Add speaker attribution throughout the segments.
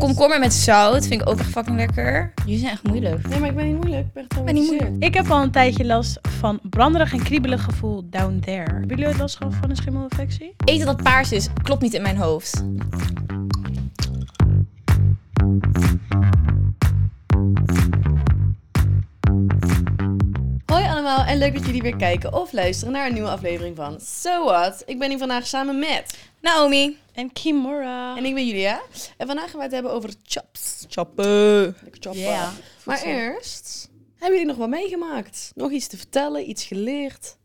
Speaker 1: komkommer met zout vind ik ook echt fucking lekker. Jullie zijn echt moeilijk.
Speaker 2: Nee, maar ik ben niet moeilijk. Ik ben echt
Speaker 1: ben niet
Speaker 2: getraumatiseerd.
Speaker 3: Ik heb al een tijdje last van branderig en kriebelig gevoel down there. Hebben jullie ooit last gehad van een schimmelinfectie?
Speaker 1: Eten dat paars is, klopt niet in mijn hoofd.
Speaker 2: Hoi allemaal en leuk dat jullie weer kijken of luisteren naar een nieuwe aflevering van So What. Ik ben hier vandaag samen met
Speaker 1: Naomi.
Speaker 3: En Kimura.
Speaker 2: en ik ben Julia. En vandaag gaan we het hebben over chops.
Speaker 1: Chappen.
Speaker 2: Lekker choppen.
Speaker 1: Ja.
Speaker 2: Maar eerst, hebben jullie nog wat meegemaakt? Nog iets te vertellen, iets geleerd?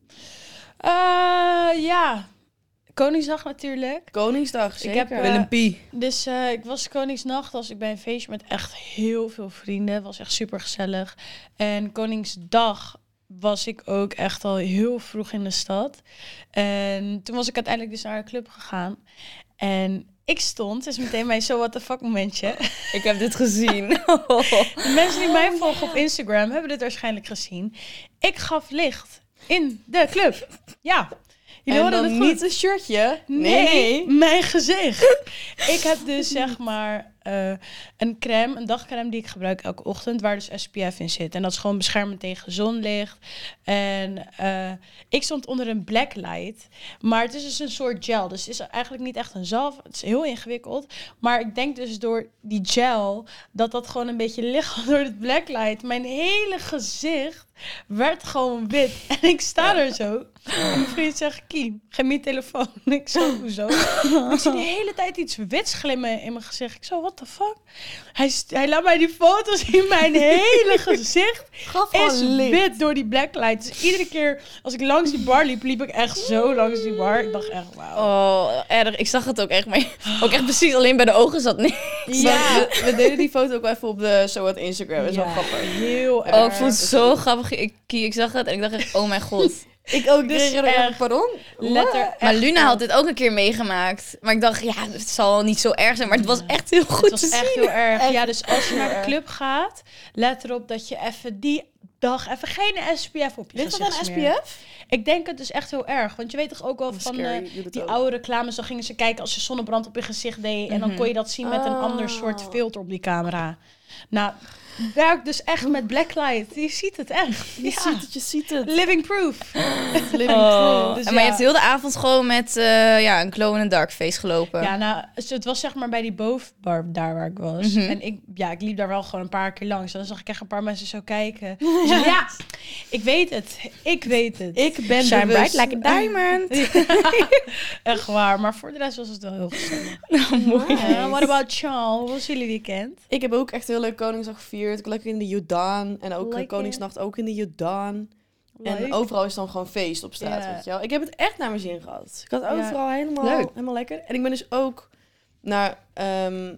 Speaker 3: Eh, ja, Koningsdag natuurlijk.
Speaker 2: Koningsdag, zeker.
Speaker 3: heb, eh, Willem Dus eh, ik was Koningsnacht, als ik bij een feestje met echt heel veel vrienden. Het was echt super gezellig. En Koningsdag was ik ook echt al heel vroeg in de stad. En toen was ik uiteindelijk dus naar een club gegaan. En ik stond, dus meteen mijn so what the fuck momentje.
Speaker 1: Ik heb dit gezien.
Speaker 3: De mensen die mij volgen op Instagram hebben dit waarschijnlijk gezien. Ik gaf licht in de club. Ja, jullie
Speaker 2: en
Speaker 3: hoorden
Speaker 2: dan
Speaker 3: het goed.
Speaker 2: niet een shirtje.
Speaker 3: Nee, mijn gezicht. ik heb dus zeg maar eh, een crème, een dagcrème die ik gebruik elke ochtend, waar dus SPF in zit. En dat is gewoon beschermend tegen zonlicht. En eh, ik stond onder een blacklight, maar het is dus een soort gel. Dus het is eigenlijk niet echt een zalf, het is heel ingewikkeld. Maar ik denk dus door die gel, dat dat gewoon een beetje licht door het blacklight. Mijn hele gezicht werd gewoon wit. En ik sta er zo. En mijn vriend zegt, Kiem, geef me je telefoon. En ik zo, hoezo? ik zie de hele tijd iets wits glimmen in mijn gezicht. Ik zo, what the fuck? Hij, st- hij laat mij die foto's zien. Mijn hele gezicht
Speaker 2: Gaf
Speaker 3: is wit door die blacklight. Dus iedere keer als ik langs die bar liep, liep ik echt zo langs die bar. Ik dacht echt, wauw.
Speaker 1: Oh, erg. Ik zag het ook echt. Maar ook echt precies alleen bij de ogen zat niet.
Speaker 2: Ja. We, we deden die foto ook wel even op de So What Instagram. Dat is wel
Speaker 3: Ja.
Speaker 2: grappig.
Speaker 3: Heel erg.
Speaker 1: Oh, ik vond het zo grappig. Ik, ik zag het en ik dacht echt, oh mijn god.
Speaker 2: Ik ook.
Speaker 3: Dus
Speaker 2: kreeg er
Speaker 3: erg.
Speaker 2: ook- Pardon?
Speaker 3: Letter
Speaker 1: Maar
Speaker 3: echt
Speaker 1: Luna had dit ook een keer meegemaakt. Maar ik dacht, ja, het zal niet zo erg zijn. Maar het was echt heel goed
Speaker 3: Het
Speaker 1: te
Speaker 3: was
Speaker 1: zien.
Speaker 3: echt heel erg.
Speaker 2: Echt
Speaker 3: ja, dus als je naar
Speaker 2: erg.
Speaker 3: de club gaat, let erop dat je even die dag even geen SPF op je
Speaker 2: Ligt dat
Speaker 3: gezicht
Speaker 2: aan
Speaker 3: smeert.
Speaker 2: SPF?
Speaker 3: Ik denk het dus echt heel erg, want je weet toch ook wel van eh, die oude reclames, dan gingen ze kijken als je zonnebrand op je gezicht deed en dan
Speaker 1: Mhm.
Speaker 3: kon je dat zien met een ander soort
Speaker 2: Oh.
Speaker 3: filter op die camera. Nou, werkt dus echt met blacklight. Je ziet het echt.
Speaker 2: Je
Speaker 3: Ja.
Speaker 2: ziet het, je ziet het.
Speaker 3: Living proof.
Speaker 2: Living
Speaker 1: Oh.
Speaker 3: Dus
Speaker 1: En maar je
Speaker 3: ja.
Speaker 1: hebt heel de avond gewoon met eh, ja, een glow en een dark face gelopen.
Speaker 3: Ja, nou, dus het was zeg maar bij die bovenbar daar waar ik was.
Speaker 1: Mhm.
Speaker 3: En ik, ja, ik liep daar wel gewoon een paar keer langs. En dan zag ik echt een paar mensen zo kijken. Dus ik- ja, ik weet het. Ik weet het.
Speaker 2: Ik ben
Speaker 3: Shine
Speaker 2: bewust.
Speaker 3: bright
Speaker 1: like a diamond.
Speaker 3: Echt waar. Maar voor de rest was het wel heel gezellig.
Speaker 1: mooi.
Speaker 3: Ja, what about Charles? Hoe was jullie weekend?
Speaker 2: Ik heb ook echt heel leuk Koningsdag gevierd. Ik lekker in de Jordaan. En ook eh,
Speaker 3: Lekker.
Speaker 2: Koningsnacht ook in de Jordaan. En
Speaker 3: Leuk.
Speaker 2: overal is dan gewoon feest op straat,
Speaker 3: Ja.
Speaker 2: weet je wel. Ik heb het echt naar mijn zin gehad. Ik had
Speaker 3: Ja.
Speaker 2: overal helemaal,
Speaker 1: Leuk.
Speaker 2: helemaal lekker. En ik ben dus ook naar, ehm,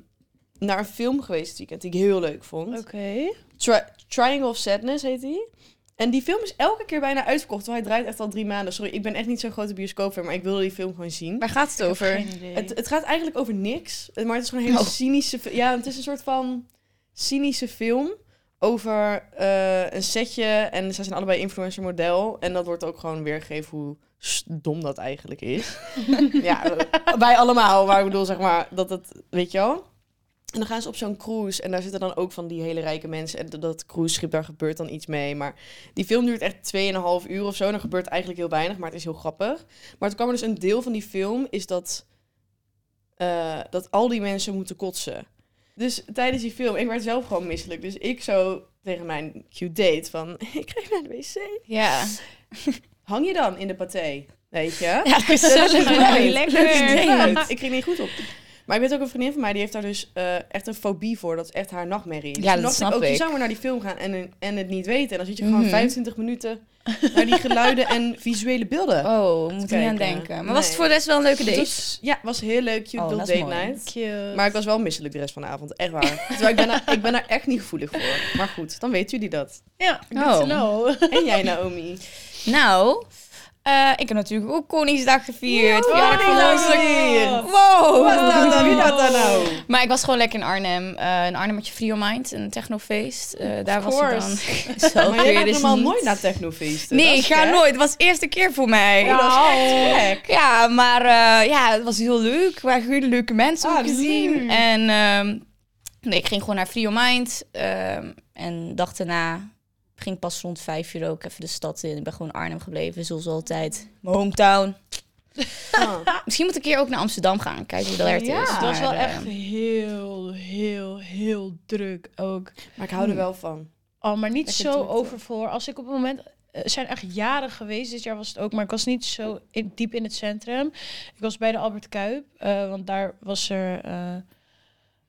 Speaker 2: naar een film geweest dit weekend die ik heel leuk vond.
Speaker 3: Oké.
Speaker 2: Tri- Triangle of Sadness heet die. En die film is elke keer bijna uitverkocht. Want hij draait echt al drie maanden. Sorry, ik ben echt niet zo'n grote bioscoopfan, maar ik wilde die film gewoon zien.
Speaker 1: Waar gaat het over?
Speaker 2: Het, het gaat eigenlijk over niks. Maar het is gewoon een hele
Speaker 1: Oh.
Speaker 2: cynische... fi- Ja, het is een soort van cynische film over eh, een setje. En zij zijn allebei influencer model. En dat wordt ook gewoon weergegeven hoe s- dom dat eigenlijk is. ja, wij allemaal. Maar ik bedoel, zeg maar, dat het... Weet je wel? En dan gaan ze op zo'n cruise en daar zitten dan ook van die hele rijke mensen. En dat- dat cruiseschip, daar gebeurt dan iets mee. Maar die film duurt echt 2,5 uur of zo. En er gebeurt eigenlijk heel weinig, maar het is heel grappig. Maar het kwam er dus een deel van die film is dat, eh, dat al die mensen moeten kotsen. Dus tijdens die film, ik werd zelf gewoon misselijk. Dus ik zo tegen mijn cute date van, ik ga even naar de wc.
Speaker 1: Ja.
Speaker 2: Hang je dan in de paté, weet je?
Speaker 1: Ja,
Speaker 2: Dat is
Speaker 1: gezellig.
Speaker 2: leuk.
Speaker 1: leuk.
Speaker 3: Lekker.
Speaker 1: Leuk idee.
Speaker 2: Ik kreeg niet goed op. Maar ik weet ook een vriendin van mij, die heeft daar dus eh, echt een fobie voor. Dat is echt haar nachtmerrie. Dus
Speaker 1: Ja, dat
Speaker 2: toen dacht
Speaker 1: snap
Speaker 2: ook, Je
Speaker 1: ik.
Speaker 2: zou maar naar die film gaan en, en het niet weten. En dan zit je
Speaker 1: Mhm.
Speaker 2: gewoon 25 minuten naar die geluiden en visuele beelden.
Speaker 1: Oh, we moeten niet aan
Speaker 2: kijken.
Speaker 1: denken. Maar
Speaker 2: Nee.
Speaker 1: was het voor de rest wel een leuke
Speaker 2: Het
Speaker 1: date?
Speaker 2: was- ja, was heel leuk. Cute
Speaker 1: Oh,
Speaker 2: little
Speaker 1: dat is
Speaker 2: date
Speaker 1: mooi.
Speaker 2: night.
Speaker 3: Cute.
Speaker 2: Maar ik was wel misselijk de rest van de avond. Echt waar. Terwijl ik ben, daar- ik ben daar echt niet gevoelig voor. Maar goed, dan weten jullie dat.
Speaker 3: Ja, good
Speaker 1: Oh.
Speaker 3: to know.
Speaker 2: En jij Naomi?
Speaker 1: Nou, eh, ik heb natuurlijk ook Koningsdag gevierd.
Speaker 2: Wow.
Speaker 1: Verjaardag van
Speaker 2: Koningsdag
Speaker 1: Lars.
Speaker 2: gevierd.
Speaker 1: Wow.
Speaker 2: Wat nou dan? Wie dat dan nou?
Speaker 1: Maar ik was gewoon lekker in Arnhem. Eh in Arnhem had je Free Your Mind, een technofeest. Eh, daar was ik dan. Zo
Speaker 2: Maar jij
Speaker 1: kun je
Speaker 2: gaat
Speaker 1: dus
Speaker 2: normaal
Speaker 1: niet.
Speaker 2: nooit naar technofeesten.
Speaker 1: Nee,
Speaker 2: Dat
Speaker 1: ik
Speaker 2: is
Speaker 1: ga
Speaker 2: gek.
Speaker 1: nooit. Het was de eerste keer voor mij.
Speaker 2: Oh, dat is echt gek.
Speaker 1: Ja, maar eh, ja, het was heel leuk. We hebben hele leuke mensen
Speaker 2: Ah,
Speaker 1: ook gezien.
Speaker 2: leuk.
Speaker 1: En ehm, Nee, ik ging gewoon naar Free Your Mind. ehm, en dag daarna ging ik pas rond vijf uur ook even de stad in. Ik ben gewoon in Arnhem gebleven, zoals altijd. Mijn hometown.
Speaker 2: Ah.
Speaker 1: Misschien moet ik een keer ook naar Amsterdam gaan. Kijken hoe dat er
Speaker 3: Ja,
Speaker 1: is.
Speaker 3: het was
Speaker 1: Maar,
Speaker 3: wel
Speaker 1: eh,
Speaker 3: echt heel, heel, heel druk ook.
Speaker 2: Maar ik hou er wel van.
Speaker 3: Oh, maar niet
Speaker 2: Lekker
Speaker 3: zo
Speaker 2: drukte.
Speaker 3: overvol. Als ik op het moment... eh, Er zijn echt jaren geweest. Dit jaar was het ook. Maar ik was niet zo in- diep in het centrum. Ik was bij de Albert Kuip. eh, want daar was er... eh,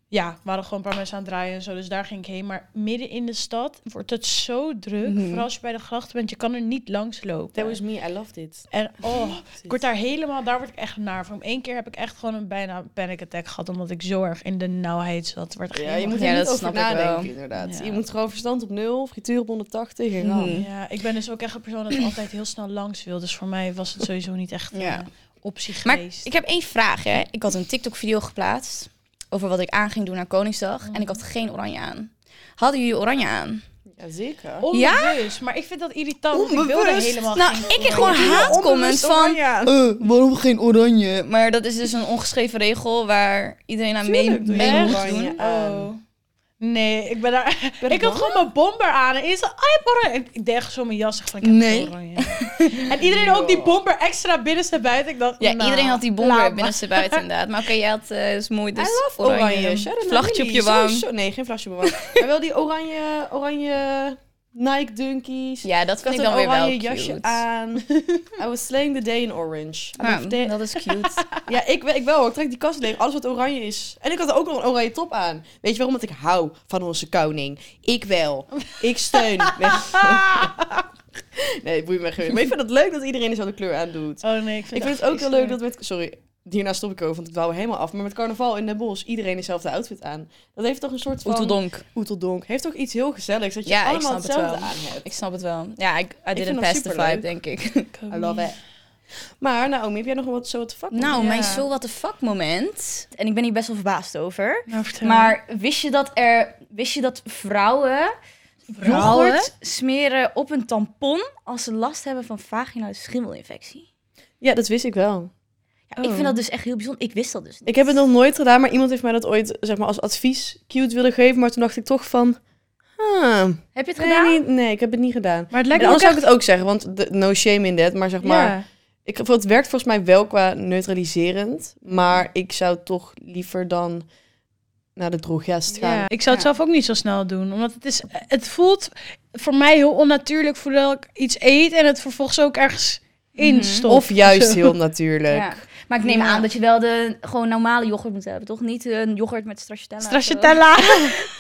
Speaker 3: ja, waren gewoon een paar mensen aan het draaien en zo. Dus daar ging ik heen. Maar midden in de stad wordt het zo druk.
Speaker 1: Mhm.
Speaker 3: Vooral als je bij de grachten bent. Je kan er niet langs lopen.
Speaker 2: That was me, I loved it.
Speaker 3: En oh, ik word daar helemaal, daar word ik echt naar van. Eén keer heb ik echt gewoon een bijna panic attack gehad, omdat ik zo erg in de nauwheid zat. Werd
Speaker 2: Ja, je moet
Speaker 1: Ja,
Speaker 2: er niet
Speaker 1: dat
Speaker 2: over
Speaker 1: snap ik wel.
Speaker 2: nadenken, inderdaad.
Speaker 3: Ja.
Speaker 2: Je moet gewoon verstand op nul, frituur op 180. En gaan.
Speaker 1: Mhm.
Speaker 3: ja, ik ben dus ook echt een persoon dat altijd heel snel langs wil. Dus voor mij was het sowieso niet echt
Speaker 1: Ja.
Speaker 3: een optie
Speaker 1: Maar
Speaker 3: geweest.
Speaker 1: ik heb één vraag, hè. Ik had een TikTok-video geplaatst over wat ik aan ging doen aan Koningsdag. En ik had geen oranje aan. Hadden jullie oranje aan?
Speaker 2: Ja, zeker.
Speaker 3: Onbewust, maar ik vind dat irritant. want Ik wilde
Speaker 2: Onbewust?
Speaker 3: helemaal
Speaker 1: nou,
Speaker 3: geen
Speaker 1: ik kreeg
Speaker 3: kleur.
Speaker 1: gewoon haatcomments van...
Speaker 2: Ja,
Speaker 1: Eh, waarom geen oranje? Maar dat is dus een ongeschreven regel waar iedereen aan mee,
Speaker 2: Tuurlijk doe je
Speaker 1: mee moet
Speaker 2: oranje.
Speaker 1: doen.
Speaker 3: Oh. Nee, ik ben daar.
Speaker 2: Ben
Speaker 3: ik had
Speaker 2: bang.
Speaker 3: gewoon mijn bomber aan. En is ah, je hebt oranje. Ik deed zo mijn jas. Ik dacht, ik heb
Speaker 1: Nee.
Speaker 3: oranje. en iedereen ook die bomber extra binnenste buiten. Ik dacht,
Speaker 1: Ja,
Speaker 3: nou,
Speaker 1: iedereen had die
Speaker 3: laat
Speaker 1: bomber
Speaker 3: maar.
Speaker 1: binnen ze buiten inderdaad. Maar oké, jij had eh, dus mooi dus
Speaker 2: I love
Speaker 1: oranje.
Speaker 2: oranje. Shout out naar
Speaker 1: Vlaggetje op
Speaker 2: jullie.
Speaker 1: je wang.
Speaker 2: Sowieso- Nee, geen vlaggetje op mijn wang. maar wel die oranje, oranje Nike Dunkies.
Speaker 1: Ja, dat
Speaker 2: Ik
Speaker 1: vind
Speaker 2: had
Speaker 1: ik
Speaker 2: een
Speaker 1: dan weer wel
Speaker 2: oranje
Speaker 1: cute.
Speaker 2: jasje aan. I was slaying the day in orange. I
Speaker 1: Nou,
Speaker 2: loved it.
Speaker 1: dat is cute.
Speaker 2: Ja, ik, ik wel hoor. Ik trek die kast leeg. Alles wat oranje is. En ik had ook nog een oranje top aan. Weet je waarom? Want ik hou van onze koning. Ik wel. Ik steun. nee, het boeit me geen. Maar ik vind het leuk dat iedereen dezelfde kleur aandoet.
Speaker 3: Oh nee, ik vind,
Speaker 2: Ik vind het ook heel leuk dat met... Sorry, hierna stop ik over, want ik dwouw helemaal af. Maar met carnaval in Den Bosch, iedereen dezelfde outfit aan. Dat heeft toch een soort van...
Speaker 1: Oeteldonk.
Speaker 2: Oeteldonk. Heeft ook iets heel gezelligs, dat je
Speaker 1: Ja, ik
Speaker 2: allemaal
Speaker 1: snap het wel.
Speaker 2: hetzelfde aan hebt.
Speaker 1: Ik snap het wel. Ja, ik, I
Speaker 2: vind
Speaker 1: didn't
Speaker 2: dat
Speaker 1: pass the
Speaker 2: superleuk.
Speaker 1: vibe, denk ik.
Speaker 3: ook
Speaker 2: I love it. Maar Naomi, heb jij nog wat zo wat vak?
Speaker 1: Nou,
Speaker 3: Ja.
Speaker 1: mijn so what the fuck moment. En ik ben hier best wel verbaasd over.
Speaker 3: Nou, vertel.
Speaker 1: Maar wist je dat er... Wist je dat vrouwen,
Speaker 3: Vrouwen?
Speaker 1: yoghurt smeren op een tampon... als ze last hebben van vaginale schimmelinfectie?
Speaker 2: Ja, dat wist ik wel.
Speaker 1: Ja, Ik
Speaker 3: Oh.
Speaker 1: vind dat dus echt heel bijzonder. Ik wist dat dus niet.
Speaker 2: Ik heb het nog nooit gedaan, maar iemand heeft mij dat ooit zeg maar, als advies cute willen geven. Maar toen dacht ik toch van... huh,
Speaker 1: Heb je het
Speaker 2: nee,
Speaker 1: gedaan?
Speaker 2: nee, nee, ik heb het niet gedaan.
Speaker 3: Maar het
Speaker 2: En
Speaker 3: lijkt me ook
Speaker 2: anders zou
Speaker 3: echt...
Speaker 2: ik het ook zeggen, want de- no shame in that. Maar zeg maar,
Speaker 3: Ja.
Speaker 2: ik, het werkt volgens mij wel qua neutraliserend. Maar ik zou toch liever dan naar de drogest gaan.
Speaker 3: Ja. Ik zou het
Speaker 1: Ja.
Speaker 3: zelf ook niet zo snel doen. Omdat het is... Het voelt voor mij heel onnatuurlijk voordat ik iets eet en het vervolgens ook ergens in
Speaker 1: Mhm.
Speaker 3: stopt.
Speaker 2: Of juist
Speaker 3: Zo.
Speaker 2: heel natuurlijk.
Speaker 1: Ja. Maar ik neem
Speaker 3: Ja.
Speaker 1: aan dat je wel de gewoon normale yoghurt moet hebben, toch? Niet een yoghurt met stracciatella. of zo.
Speaker 3: Stracciatella.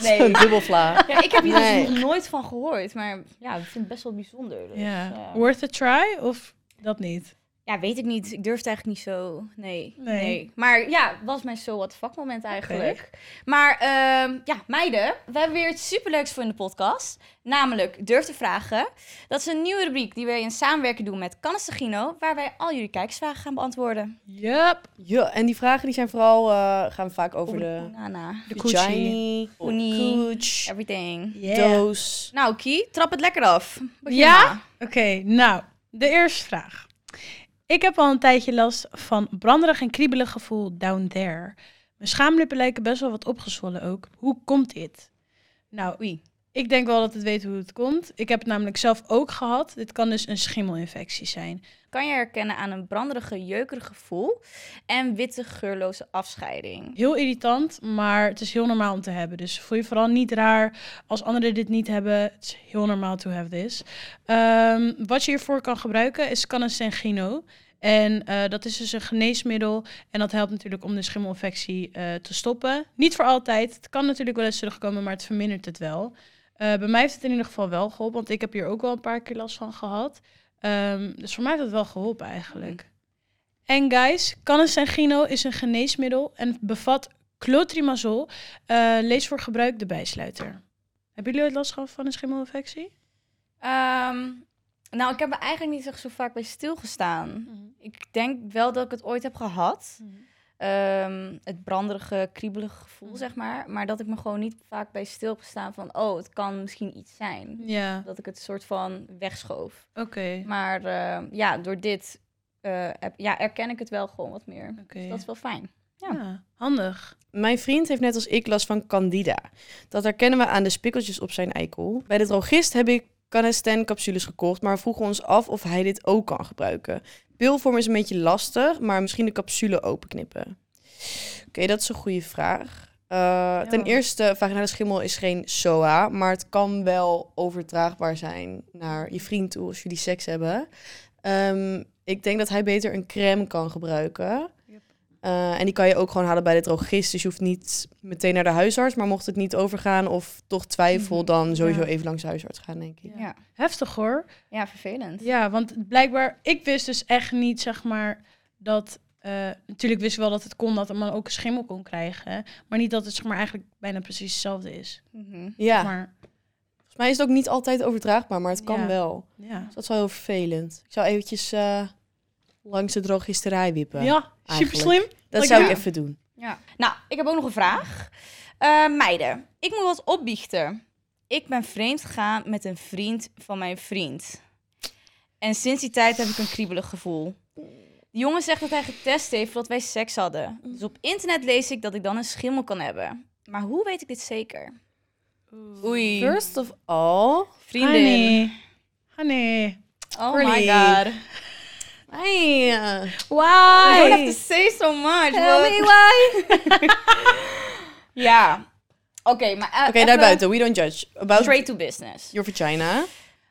Speaker 1: Nee.
Speaker 2: Een dubbelvla.
Speaker 1: Ja, ik heb hier
Speaker 2: Nee.
Speaker 1: dus nog nooit van gehoord, maar ja, ik vind het best wel bijzonder. dus,
Speaker 3: Ja.
Speaker 1: eh.
Speaker 3: Worth a try of dat niet?
Speaker 1: Ja, weet ik niet. Ik durf het eigenlijk niet zo. Nee.
Speaker 3: Nee.
Speaker 1: Nee. Maar ja, was mijn zo wat fuck moment eigenlijk. Maar ehm, ja, meiden, we hebben weer iets superleuks voor in de podcast. Namelijk Durf te Vragen. Dat is een nieuwe rubriek die wij in samenwerking doen met Cannes de Gino, waar wij al jullie kijkersvragen gaan beantwoorden.
Speaker 3: Yup.
Speaker 2: Ja, en die vragen die zijn vooral, eh, gaan vaak over de...
Speaker 1: Nana,
Speaker 3: De
Speaker 2: vagina,
Speaker 1: Oenie.
Speaker 2: cooch,
Speaker 1: everything.
Speaker 3: Yeah.
Speaker 2: doos.
Speaker 1: Nou, Kie, trap het lekker af. Begin
Speaker 3: Ja?
Speaker 1: maar.
Speaker 3: Oké, nou, de eerste vraag. Ik heb al een tijdje last van branderig en kriebelig gevoel down there. Mijn schaamlippen lijken best wel wat opgezwollen ook. Hoe komt dit? Nou,
Speaker 1: Oei.
Speaker 3: ik denk wel dat het weet hoe het komt. Ik heb het namelijk zelf ook gehad. Dit kan dus een schimmelinfectie zijn.
Speaker 1: Kan je herkennen aan een branderige, jeukerig gevoel en witte, geurloze afscheiding?
Speaker 3: Heel irritant, maar het is heel normaal om te hebben. Dus voel je vooral niet raar als anderen dit niet hebben. Het is heel normaal to have this. Ehm, wat je hiervoor kan gebruiken is Canis Sangino. En eh, dat is dus een geneesmiddel. En dat helpt natuurlijk om de schimmelinfectie eh, te stoppen. Niet voor altijd. Het kan natuurlijk wel eens terugkomen, maar het vermindert het wel. Eh, bij mij heeft het in ieder geval wel geholpen, want ik heb hier ook wel een paar keer last van gehad. Ehm, dus voor mij heeft het wel geholpen eigenlijk. En guys, Canis Sangino is een geneesmiddel en bevat clotrimazol. Eh, lees voor gebruik de bijsluiter. Hebben jullie ooit last gehad van een schimmelinfectie?
Speaker 1: Ehm, nou, ik heb er eigenlijk niet echt zo vaak bij stilgestaan. Ik denk wel dat ik het ooit heb gehad. Ehm, het branderige, kriebelige gevoel,
Speaker 3: Mhm.
Speaker 1: zeg maar. Maar dat ik me gewoon niet vaak bij stil heb gestaan van... oh, het kan misschien iets zijn.
Speaker 3: Ja,
Speaker 1: Dat ik het soort van wegschoof.
Speaker 3: oké.
Speaker 1: Maar ehm, eh, ja, door dit eh, heb, ja, erken ik het wel gewoon wat meer.
Speaker 3: Oké.
Speaker 1: Dus dat is wel fijn. Ja.
Speaker 3: Ja, handig.
Speaker 2: Mijn vriend heeft net als ik last van candida. Dat herkennen we aan de spikkeltjes op zijn eikel. Bij de drogist heb ik Canesten capsules gekocht, maar we vroegen ons af of hij dit ook kan gebruiken. Pilvorm is een beetje lastig, maar misschien de capsule openknippen. Oké, dat is een goede vraag. Eh, Ten eerste, vaginale schimmel is geen SOA, maar het kan wel overdraagbaar zijn naar je vriend toe als jullie seks hebben. Ehm, ik denk dat hij beter een crème kan gebruiken. Eh, en die kan je ook gewoon halen bij de drogist. Dus je hoeft niet meteen naar de huisarts. Maar mocht het niet overgaan of toch twijfel,
Speaker 3: Mhm.
Speaker 2: dan sowieso
Speaker 3: Ja.
Speaker 2: even langs de huisarts gaan, denk ik.
Speaker 3: Ja.
Speaker 1: Ja,
Speaker 3: Heftig hoor.
Speaker 1: ja vervelend.
Speaker 3: Ja, want blijkbaar, ik wist dus echt niet, zeg maar, dat. eh, natuurlijk wist ik wel dat het kon dat een man ook een schimmel kon krijgen. hè, Maar niet dat het zeg maar, eigenlijk bijna precies hetzelfde is.
Speaker 1: Mhm.
Speaker 2: Ja,
Speaker 3: Maar
Speaker 2: volgens mij is het ook niet altijd overdraagbaar, maar het kan
Speaker 3: Ja.
Speaker 2: wel.
Speaker 3: ja.
Speaker 2: Dus dat is wel heel vervelend. Ik zou eventjes eh, langs de drogisterij wippen.
Speaker 3: Ja, super
Speaker 2: eigenlijk.
Speaker 3: slim.
Speaker 2: Dat
Speaker 3: Like,
Speaker 2: zou
Speaker 1: ja.
Speaker 2: ik even doen.
Speaker 1: Ja. Nou, ik heb ook nog een vraag. Eh, meiden, ik moet wat opbiechten. Ik ben vreemd gegaan met een vriend van mijn vriend. En sinds die tijd heb ik een kriebelig gevoel. De jongen zegt dat hij getest heeft voordat wij seks hadden. Dus op internet lees ik dat ik dan een schimmel kan hebben. Maar hoe weet ik dit zeker? Oei.
Speaker 2: First of all...
Speaker 1: Vriendin.
Speaker 3: Honey.
Speaker 1: Oh my
Speaker 2: Honey.
Speaker 1: god.
Speaker 2: Hey,
Speaker 1: I
Speaker 3: Why?
Speaker 1: don't have to say so much. but- ja. Oké, maar eh,
Speaker 2: Oké,
Speaker 1: even
Speaker 2: daarbuiten. We don't judge. About
Speaker 1: Straight to business.
Speaker 2: your vagina.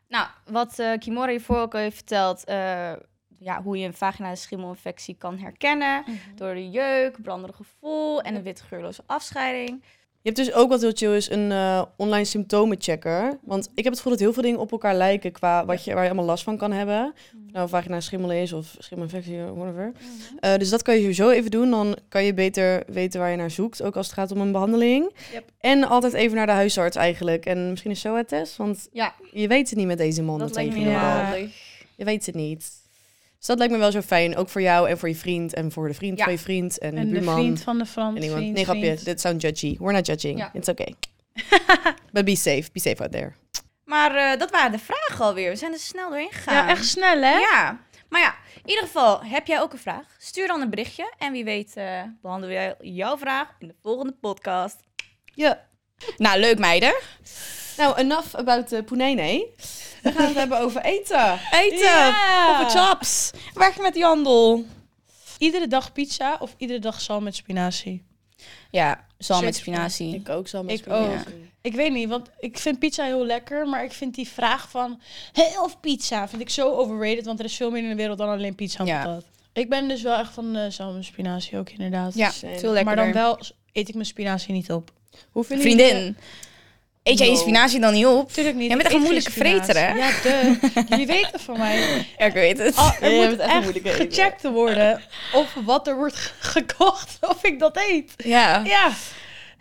Speaker 1: Nou, wat eh, Kimora hiervoor ook al heeft verteld, eh, ja, hoe je een vaginale schimmelinfectie kan herkennen door de jeuk, branderig gevoel en een wit geurloze afscheiding.
Speaker 2: Je hebt dus ook wat heel chill is, een eh, online symptomenchecker. Want ik heb het gevoel dat heel veel dingen op elkaar lijken qua wat je, waar je allemaal last van kan hebben. Of nou, vagina schimmel is of schimmelinfectie, whatever. Eh, dus dat kan je sowieso even doen. Dan kan je beter weten waar je naar zoekt, ook als het gaat om een behandeling.
Speaker 3: Yep.
Speaker 2: En altijd even naar de huisarts eigenlijk. En misschien een SOA-test, want
Speaker 1: Ja,
Speaker 2: je weet het niet met deze man.
Speaker 1: dat lijkt me eh, heel
Speaker 3: tegen normaal.
Speaker 2: ja.
Speaker 3: Ja.
Speaker 1: handig.
Speaker 2: Je weet het niet. Dus dat lijkt me wel zo fijn. Ook voor jou en voor je vriend en voor de vriend
Speaker 1: Ja.
Speaker 2: van je vriend en,
Speaker 3: En
Speaker 2: de
Speaker 3: de
Speaker 2: buurman.
Speaker 3: vriend van de Frans.
Speaker 2: En iemand-
Speaker 3: vriend,
Speaker 2: nee, grapje.
Speaker 3: vriend.
Speaker 2: Dit sounds judgy. We're not judging.
Speaker 1: Ja.
Speaker 2: It's okay. But be safe. Be safe out there.
Speaker 1: Maar eh, dat waren de vragen alweer. We zijn er snel doorheen gegaan.
Speaker 3: Ja, echt snel hè?
Speaker 1: Ja. Maar ja, in ieder geval, heb jij ook een vraag? Stuur dan een berichtje en wie weet eh, behandelen wij jouw vraag in de volgende podcast.
Speaker 2: Ja.
Speaker 1: Nou, leuk meiden.
Speaker 2: Nou, enough about de Poenene. We gaan het hebben over eten.
Speaker 1: Eten!
Speaker 3: Ja.
Speaker 1: Op de chaps! Werk je met die handel?
Speaker 3: Iedere dag pizza of iedere dag zalm met spinazie?
Speaker 1: Ja, zalm met
Speaker 3: Zeker.
Speaker 1: spinazie.
Speaker 2: ook, zal
Speaker 3: Ik ook. Ik weet niet, want ik vind pizza heel lekker, maar ik vind die vraag van "Hé, of pizza vind ik zo overrated, want er is veel meer in de wereld dan alleen pizza en
Speaker 1: Ja.
Speaker 3: patat. Ik ben dus wel echt van eh zalm en spinazie ook inderdaad.
Speaker 1: Ja,
Speaker 2: Same.
Speaker 1: veel lekkerder.
Speaker 3: maar dan wel s- eet ik mijn spinazie niet op.
Speaker 2: Hoe vinden jullie-
Speaker 1: Vriendin, eet jij je
Speaker 2: No.
Speaker 1: spinazie dan niet op?
Speaker 3: Tuurlijk niet.
Speaker 1: Jij bent
Speaker 3: Ik
Speaker 1: echt een
Speaker 3: eet geen
Speaker 1: moeilijke
Speaker 3: spinazie.
Speaker 1: vreter, hè?
Speaker 3: Ja, de. Jullie weten van mij.
Speaker 1: Ja, ik weet het.
Speaker 3: Ah,
Speaker 2: Ja,
Speaker 3: er
Speaker 2: jij
Speaker 3: moet
Speaker 2: bent echt een
Speaker 3: echt
Speaker 2: moeilijke eter.
Speaker 3: gecheckt te worden of wat er wordt ge- gekocht, of ik dat eet.
Speaker 1: ja.
Speaker 3: Ja.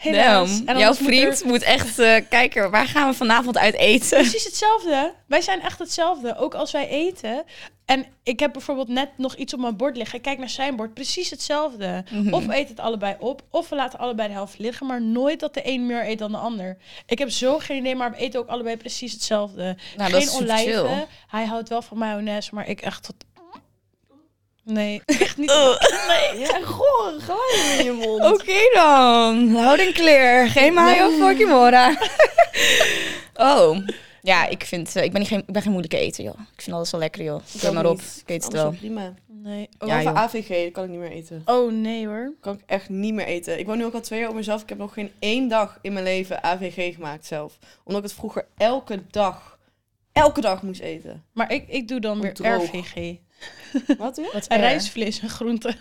Speaker 1: Damn.
Speaker 3: Helaas. En
Speaker 1: Jouw
Speaker 3: anders moet er-
Speaker 1: vriend moet, echt eh, kijken, waar gaan we vanavond uit eten?
Speaker 3: precies hetzelfde. hè? Wij zijn echt hetzelfde. Ook als wij eten. En ik heb bijvoorbeeld net nog iets op mijn bord liggen. Ik kijk naar zijn bord. Precies hetzelfde.
Speaker 1: Mhm.
Speaker 3: Of we eten het allebei op. Of we laten allebei de helft liggen. Maar nooit dat de een meer eet dan de ander. Ik heb zo geen idee. Maar we eten ook allebei precies hetzelfde.
Speaker 1: Nou,
Speaker 3: geen olijven. Hij houdt wel van mayonaise. Maar ik echt tot... Nee. Echt niet.
Speaker 2: Ja, goor. Gelijk in je mond.
Speaker 1: Oké dan, houd clear. Geen mayo voor Kimora. oh, ja, ik, vind, eh, ik, ben niet geen, ik ben geen moeilijke eter, joh. Ik vind alles wel lekker, joh.
Speaker 2: Ik
Speaker 1: Kom
Speaker 2: ook
Speaker 1: maar op,
Speaker 2: niet.
Speaker 1: ik weet het
Speaker 2: Alles
Speaker 1: wel.
Speaker 2: prima.
Speaker 3: Nee.
Speaker 2: Ook
Speaker 1: Ja,
Speaker 2: over
Speaker 1: joh.
Speaker 2: AVG, dat kan ik niet meer eten.
Speaker 3: Oh nee hoor.
Speaker 2: kan ik echt niet meer eten. Ik woon nu ook al twee jaar op mezelf. Ik heb nog geen één dag in mijn leven AVG gemaakt zelf. Omdat ik het vroeger elke dag, elke dag moest eten.
Speaker 3: Maar ik, ik doe dan weer
Speaker 2: Droog.
Speaker 3: RVG.
Speaker 2: Wat doe je?
Speaker 1: Wat
Speaker 3: En rijstvlees en groenten.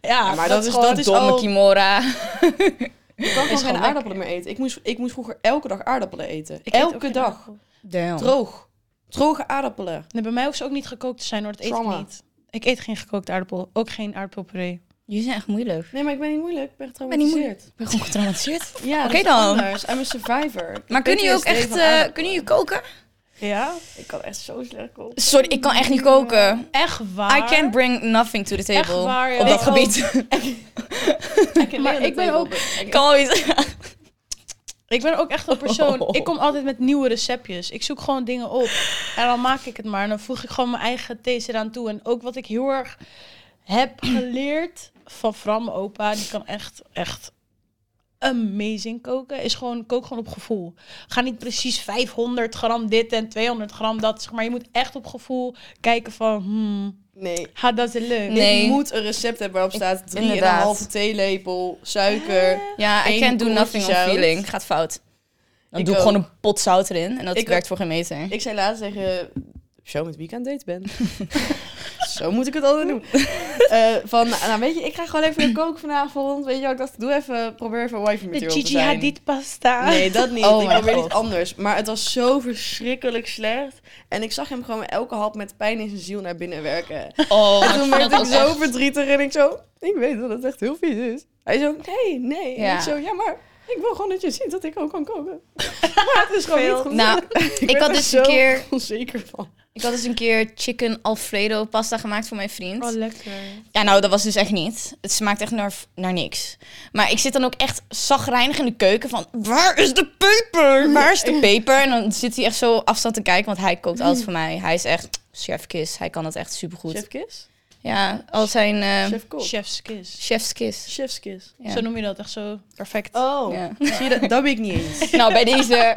Speaker 3: ja,
Speaker 2: maar
Speaker 1: Dat
Speaker 2: dat
Speaker 1: is
Speaker 2: is-
Speaker 1: gewoon
Speaker 2: dat is
Speaker 1: domme
Speaker 2: al-
Speaker 1: Kimora.
Speaker 2: Ik kan gewoon
Speaker 3: gewoon
Speaker 2: geen
Speaker 3: lekker.
Speaker 2: aardappelen meer eten. Ik moest, ik moest vroeger elke dag aardappelen eten.
Speaker 3: Ik eet ook
Speaker 2: elke
Speaker 3: geen
Speaker 2: dag.
Speaker 3: aardappel.
Speaker 1: Damn.
Speaker 2: Droog. Droge aardappelen.
Speaker 3: Nee, bij mij hoeft ze ook niet gekookt te zijn hoor. Dat eet
Speaker 2: Trauma.
Speaker 3: ik niet. Ik eet geen gekookte aardappel. Ook geen aardappelpuree.
Speaker 1: Jullie zijn echt moeilijk.
Speaker 2: Nee, maar ik ben niet moeilijk. Ik ben
Speaker 1: ben niet
Speaker 2: getraumatiseerd.
Speaker 1: Ik ben gewoon getraumatiseerd.
Speaker 2: ja, dat
Speaker 1: Oké
Speaker 2: is
Speaker 1: dan.
Speaker 2: Anders. I'm a survivor. Ik
Speaker 1: Maar
Speaker 2: heb
Speaker 1: kunnen jullie ook
Speaker 2: PTSD
Speaker 1: echt,
Speaker 2: van
Speaker 1: eh,
Speaker 2: aardappelen.
Speaker 1: kunnen jullie koken?
Speaker 3: Ja?
Speaker 2: Ik kan echt zo slecht koken.
Speaker 1: Sorry, ik kan echt niet koken.
Speaker 3: Echt waar.
Speaker 1: I can't bring nothing to the
Speaker 3: Echt
Speaker 1: table
Speaker 3: waar, ja.
Speaker 1: op dat
Speaker 3: Ik
Speaker 1: gebied.
Speaker 3: Maar ik ben ook...
Speaker 1: Ik kan wel iets.
Speaker 3: Ik ben ook echt een persoon...
Speaker 2: Oh.
Speaker 3: Ik kom altijd met nieuwe receptjes. Ik zoek gewoon dingen op. En dan maak ik het maar. En dan voeg ik gewoon mijn eigen thees eraan toe. En ook wat ik heel erg heb geleerd van Fram, mijn opa. Die kan echt, echt amazing koken. Is gewoon, kook gewoon op gevoel. Ga niet precies 500 gram dit en 200 gram dat. Zeg maar je moet echt op gevoel kijken van, hmm,
Speaker 2: Nee.
Speaker 3: gaat dat het lukken?
Speaker 1: Nee.
Speaker 2: Ik moet een recept hebben waarop staat drie en een
Speaker 1: inderdaad. Eh.
Speaker 2: halve theelepel suiker.
Speaker 1: Ja, I
Speaker 2: Eén
Speaker 1: can't do
Speaker 2: kommetje
Speaker 1: nothing on
Speaker 2: zout.
Speaker 1: feeling. Gaat fout. Dan
Speaker 2: Ik
Speaker 1: doe ik gewoon
Speaker 2: ook.
Speaker 1: een pot zout erin en dat
Speaker 2: Ik
Speaker 1: werkt voor geen meter.
Speaker 2: Ik zei laatst tegen zo met wie ik aan het daten ben. zo moet ik het altijd doen. Eh, van, nou weet je, ik ga gewoon even koken vanavond. Weet je wel, ik dacht, doe even, probeer even wifi
Speaker 3: De
Speaker 2: material te
Speaker 3: Gigi
Speaker 2: zijn.
Speaker 3: Hadid pasta.
Speaker 2: Nee, dat niet.
Speaker 1: Oh
Speaker 2: ik
Speaker 1: mijn
Speaker 2: probeer
Speaker 1: God.
Speaker 2: iets anders. Maar het was zo verschrikkelijk slecht. En ik zag hem gewoon elke hap met pijn in zijn ziel naar binnen werken.
Speaker 1: Oh,
Speaker 2: En toen werd ik zo verdrietig en ik zo, ik weet dat het echt heel vies is. Hij zo, nee, nee. En
Speaker 1: Ja.
Speaker 2: ik zo, ja, maar ik wil gewoon dat je ziet dat ik ook kan koken. maar het is gewoon
Speaker 3: Veel.
Speaker 2: niet goed.
Speaker 1: Nou,
Speaker 2: ik
Speaker 1: ik
Speaker 2: werd
Speaker 1: had
Speaker 2: er
Speaker 1: dus een
Speaker 2: zo
Speaker 1: keer-
Speaker 2: onzeker van.
Speaker 1: Ik had dus een keer chicken alfredo pasta gemaakt voor mijn vriend.
Speaker 3: Oh, lekker.
Speaker 1: Ja, nou, dat was dus echt niet. Het smaakt echt naar, naar niks. Maar ik zit dan ook echt zagrijnig in de keuken van... Waar is de peper? Waar is de peper? En dan zit hij echt zo op afstand te kijken, want hij kookt alles voor mij. Hij is echt chefkis. Hij kan het echt supergoed.
Speaker 2: Mm. Chef Kiss?
Speaker 1: Ja, al zijn eh,
Speaker 2: Ehm, Chef Kok?
Speaker 3: Chef's kiss.
Speaker 1: chefskis.
Speaker 2: Chef's Kiss.
Speaker 1: Ja.
Speaker 3: Zo noem je dat, echt zo perfect.
Speaker 2: Oh,
Speaker 1: Ja.
Speaker 2: zie je, dat, dat weet ik niet eens.
Speaker 1: Nou, bij deze.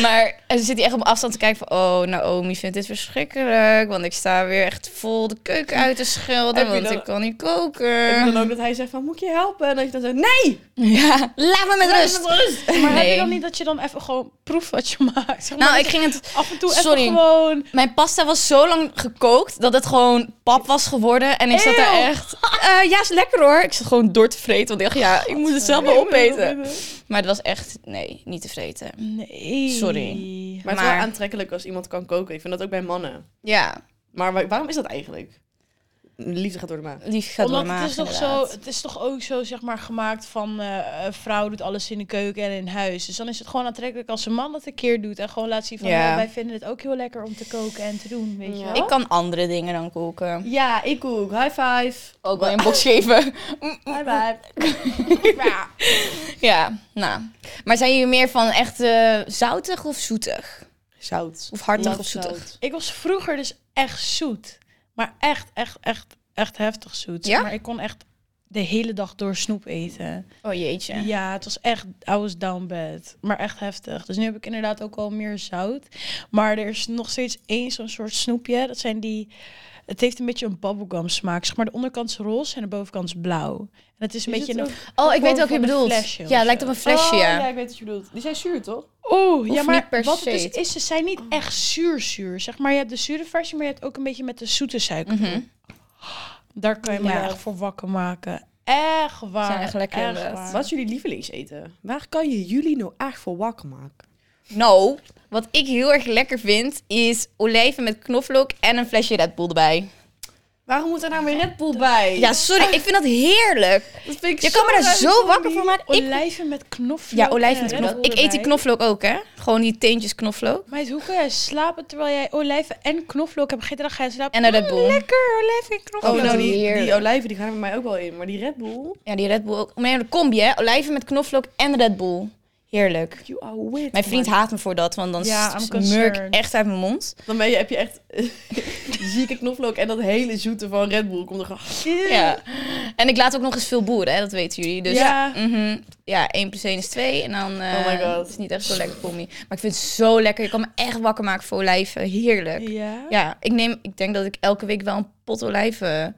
Speaker 1: maar dan zit hij echt op afstand te kijken van... Oh, Naomi vindt dit verschrikkelijk. Want ik sta weer echt vol de keuken uit te
Speaker 2: Heb
Speaker 1: schelden.
Speaker 2: je
Speaker 1: Want
Speaker 2: dan-
Speaker 1: ik kan niet
Speaker 2: En
Speaker 1: koken.
Speaker 2: dan ook dat hij zegt van, moet ik je helpen? En dat je dan zegt, nee!
Speaker 1: Ja, laat me met rust.
Speaker 3: Maar heb
Speaker 1: Nee.
Speaker 3: je dan niet dat je dan even gewoon proef wat je maakt? Zeg maar
Speaker 1: Nou,
Speaker 3: dat
Speaker 1: ik ging het...
Speaker 3: je af en toe
Speaker 1: sorry.
Speaker 3: even gewoon...
Speaker 1: Mijn pasta was zo lang gekookt dat het gewoon pap was geworden. En ik zat daar
Speaker 3: Eeuw.
Speaker 1: echt... eh, ja, is lekker hoor. Ik zat gewoon door te vreten. Want ik dacht, ja, ik moet het zelf wel opeten. Maar het was echt... Nee, niet te vreten.
Speaker 3: Nee.
Speaker 1: Sorry.
Speaker 2: Maar het is wel
Speaker 1: Maar-
Speaker 2: aantrekkelijk als iemand kan koken. Ik vind dat ook bij mannen.
Speaker 1: Ja,
Speaker 2: Maar wa- waarom is dat eigenlijk? Liefde gaat door de maan.
Speaker 1: lief gaat door
Speaker 3: Omdat
Speaker 1: de maag,
Speaker 3: het is, toch zo,
Speaker 1: inderdaad.
Speaker 3: het is toch ook zo zeg maar, gemaakt van eh, een vrouw doet alles in de keuken en in huis. Dus dan is het gewoon aantrekkelijk als een man dat een keer doet. En gewoon laat zien van
Speaker 1: Ja.
Speaker 3: nou, wij vinden het ook heel lekker om te koken en te doen. Weet
Speaker 2: Ja.
Speaker 3: je wel?
Speaker 1: Ik kan andere dingen dan koken.
Speaker 2: Ja, ik kook. High five.
Speaker 1: Ook wel een box geven.
Speaker 2: High five.
Speaker 1: ja, nou. Maar zijn jullie meer van echt eh, zoutig of zoetig?
Speaker 2: Zout.
Speaker 1: Of hartig of
Speaker 2: Love
Speaker 1: zoetig?
Speaker 2: zout.
Speaker 3: Ik was vroeger dus echt zoet. Maar echt, echt, echt, echt heftig zoet.
Speaker 1: Ja?
Speaker 3: Maar ik kon echt de hele dag door snoep eten.
Speaker 1: Oh
Speaker 3: Ja.
Speaker 1: jeetje.
Speaker 3: het was echt, I was down bad. Maar echt heftig. Dus nu heb ik inderdaad ook wel meer zout. Maar er is nog steeds één zo'n soort snoepje. Dat zijn die, het heeft een beetje een bubblegum smaak. Zeg maar de onderkant is roze en de bovenkant is blauw. En het is een
Speaker 2: Is
Speaker 3: beetje...
Speaker 2: het
Speaker 3: een-
Speaker 2: ook-
Speaker 1: Oh, ik weet
Speaker 3: vorm
Speaker 1: ook wat je
Speaker 3: van een
Speaker 1: bedoelt.
Speaker 3: flesje of
Speaker 1: ja, het lijkt
Speaker 3: zo.
Speaker 1: op een flesje,
Speaker 2: oh,
Speaker 1: ja.
Speaker 2: ik weet wat je bedoelt. Die zijn zuur, toch?
Speaker 3: Oeh, ja,
Speaker 1: Of
Speaker 3: maar
Speaker 1: niet per
Speaker 3: wat het
Speaker 1: se. Oh.
Speaker 3: is, is ze zijn niet echt zuur-zuur. Zeg maar, je hebt de zure versie, maar je hebt ook een beetje met de zoete suiker.
Speaker 1: Mhm.
Speaker 3: Daar kan je me
Speaker 2: Ja.
Speaker 3: echt voor wakker maken. Echt waar.
Speaker 1: Zijn echt lekker eh, inderdaad.
Speaker 3: waar.
Speaker 2: Wat is jullie lievelingseten? Waar kan je jullie nou echt voor wakker maken?
Speaker 1: Nou, wat ik heel erg lekker vind is olijven met knoflook en een flesje Red Bull erbij.
Speaker 2: Waarom moet er nou weer Red Bull bij?
Speaker 1: Ja, sorry, ik vind dat heerlijk.
Speaker 2: dat vind ik
Speaker 1: Je kan me daar
Speaker 2: raar.
Speaker 1: zo wakker van maken. Ik,
Speaker 3: Olijven met knoflook.
Speaker 1: ja, olijven
Speaker 3: en
Speaker 1: met
Speaker 3: Red
Speaker 1: knoflook.
Speaker 3: Bull
Speaker 1: Ik eet die
Speaker 3: erbij.
Speaker 1: knoflook ook, hè? Gewoon die teentjes knoflook
Speaker 3: Meid, hoe kan jij slapen terwijl jij olijven en knoflook hebt gegeten? Dan ga je slapen. Oh,
Speaker 1: en een Red Bull.
Speaker 3: Lekker, olijven en knoflook.
Speaker 2: Oh, nou, die,
Speaker 1: Heerlijk.
Speaker 2: die olijven die gaan er bij mij ook wel in. Maar die Red Bull...
Speaker 1: Ja, die Red Bull ook. Maar ja, de combi, hè? Olijven met knoflook en Red Bull. Heerlijk.
Speaker 2: You are wit.
Speaker 1: Mijn vriend
Speaker 2: man.
Speaker 1: haat me voor dat, want dan
Speaker 3: Ja, I'm
Speaker 1: smeur ik
Speaker 3: concerned.
Speaker 1: echt uit mijn mond.
Speaker 2: Dan ben je, heb je echt eh, zieke knoflook en dat hele zoete van Red Bull komt er gewoon...
Speaker 1: Oh, Ja. En ik laat ook nog eens veel boeren, hè? dat weten jullie. Dus
Speaker 3: Ja.
Speaker 1: mhm. ja 1 plus 1 is 2. En dan eh,
Speaker 2: Oh my God.
Speaker 1: het is niet echt zo lekker combi. Maar ik vind het zo lekker. Je kan me echt wakker maken voor olijven. Heerlijk.
Speaker 3: Ja.
Speaker 1: Ja, ik, neem, ik denk dat ik elke week wel een pot olijven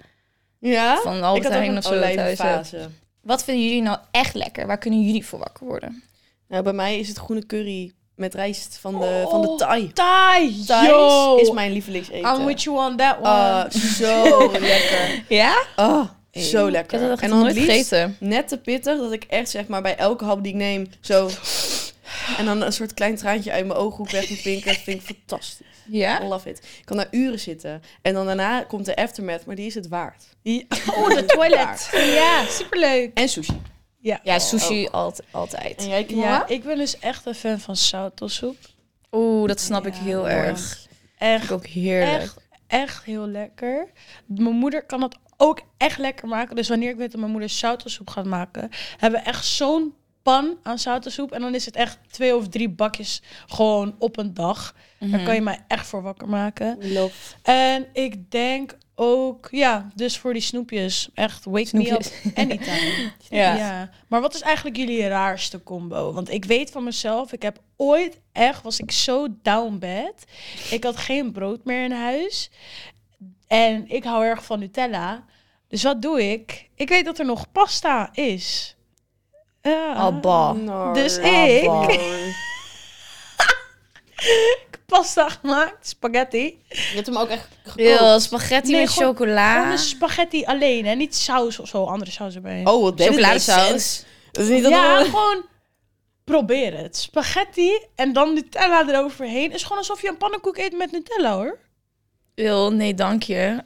Speaker 2: Ja?
Speaker 1: van de
Speaker 2: Ah, ik
Speaker 1: Albert
Speaker 2: had ook
Speaker 1: Heijn
Speaker 2: een
Speaker 1: of zo thuis heb.
Speaker 2: olijvenfase.
Speaker 1: Wat vinden jullie nou echt lekker? Waar kunnen jullie voor wakker worden?
Speaker 2: Nou, bij mij is het groene curry met rijst van de, van de
Speaker 3: Oh,
Speaker 2: Thai.
Speaker 3: Thai,
Speaker 2: Thais
Speaker 3: yo.
Speaker 2: is mijn lievelingseten.
Speaker 3: I'm with you on that one.
Speaker 2: Ah, zo lekker.
Speaker 1: Ja?
Speaker 2: Ah, zo
Speaker 1: Ik heb
Speaker 2: lekker.
Speaker 1: dat echt
Speaker 2: en
Speaker 1: nog
Speaker 2: dan het
Speaker 1: nooit
Speaker 2: liefst
Speaker 1: gegeten.
Speaker 2: net te pittig dat ik echt zeg maar bij elke hap die ik neem zo... En dan een soort klein traantje uit mijn ooghoek weg moet pinken. Dat vind ik fantastisch. I
Speaker 1: Ja?
Speaker 2: love it. Ik kan daar uren zitten. En dan daarna komt de aftermath, maar die is het waard.
Speaker 3: Oh, de toilet. ja, superleuk.
Speaker 2: En sushi.
Speaker 3: Ja.
Speaker 1: Ja, sushi alt- altijd.
Speaker 2: En jij, Kimora?
Speaker 3: Ja, ik ben dus echt een fan van sautelsoep.
Speaker 1: Oeh, dat snap ik
Speaker 3: Ja,
Speaker 1: heel
Speaker 3: mooi.
Speaker 1: erg.
Speaker 3: Echt
Speaker 1: Vind ik ook heerlijk.
Speaker 3: Echt, echt heel lekker. Mijn moeder kan dat ook echt lekker maken. Dus wanneer ik weet dat mijn moeder zoutelsoep gaat maken, hebben we echt zo'n pan aan zoutensoep. En dan is het echt twee of drie bakjes gewoon op een dag.
Speaker 1: Mhm.
Speaker 3: Daar kan je mij echt voor wakker maken.
Speaker 1: Love.
Speaker 3: En ik denk ook, ja, dus voor die snoepjes. Echt, wake me up anytime.
Speaker 2: Ja.
Speaker 3: Maar wat is eigenlijk jullie raarste combo? Want ik weet van mezelf, ik heb ooit echt, was ik zo down bad. Ik had geen brood meer in huis. En ik hou erg van Nutella. Dus wat doe ik? Ik weet dat er nog pasta is. Ja.
Speaker 1: Al bah.
Speaker 2: Nar.
Speaker 3: Dus
Speaker 2: Ah,
Speaker 3: ik-
Speaker 2: bar.
Speaker 3: Pasta gemaakt, spaghetti.
Speaker 2: Je hebt hem ook echt gekookt.
Speaker 1: Ew, spaghetti
Speaker 3: Nee,
Speaker 1: met
Speaker 3: gewoon- Gewoon
Speaker 1: chocola.
Speaker 3: een spaghetti alleen, hè? Niet saus of zo, andere saus erbij.
Speaker 2: Oh, wat deed het niet
Speaker 1: Chocoladesaus.
Speaker 2: sens. Dat is niet dat
Speaker 3: ja,
Speaker 2: we-
Speaker 3: gewoon probeer het. Spaghetti en dan Nutella eroverheen. Is gewoon alsof je een pannenkoek eet met Nutella, hoor.
Speaker 1: Ew, nee, dank je.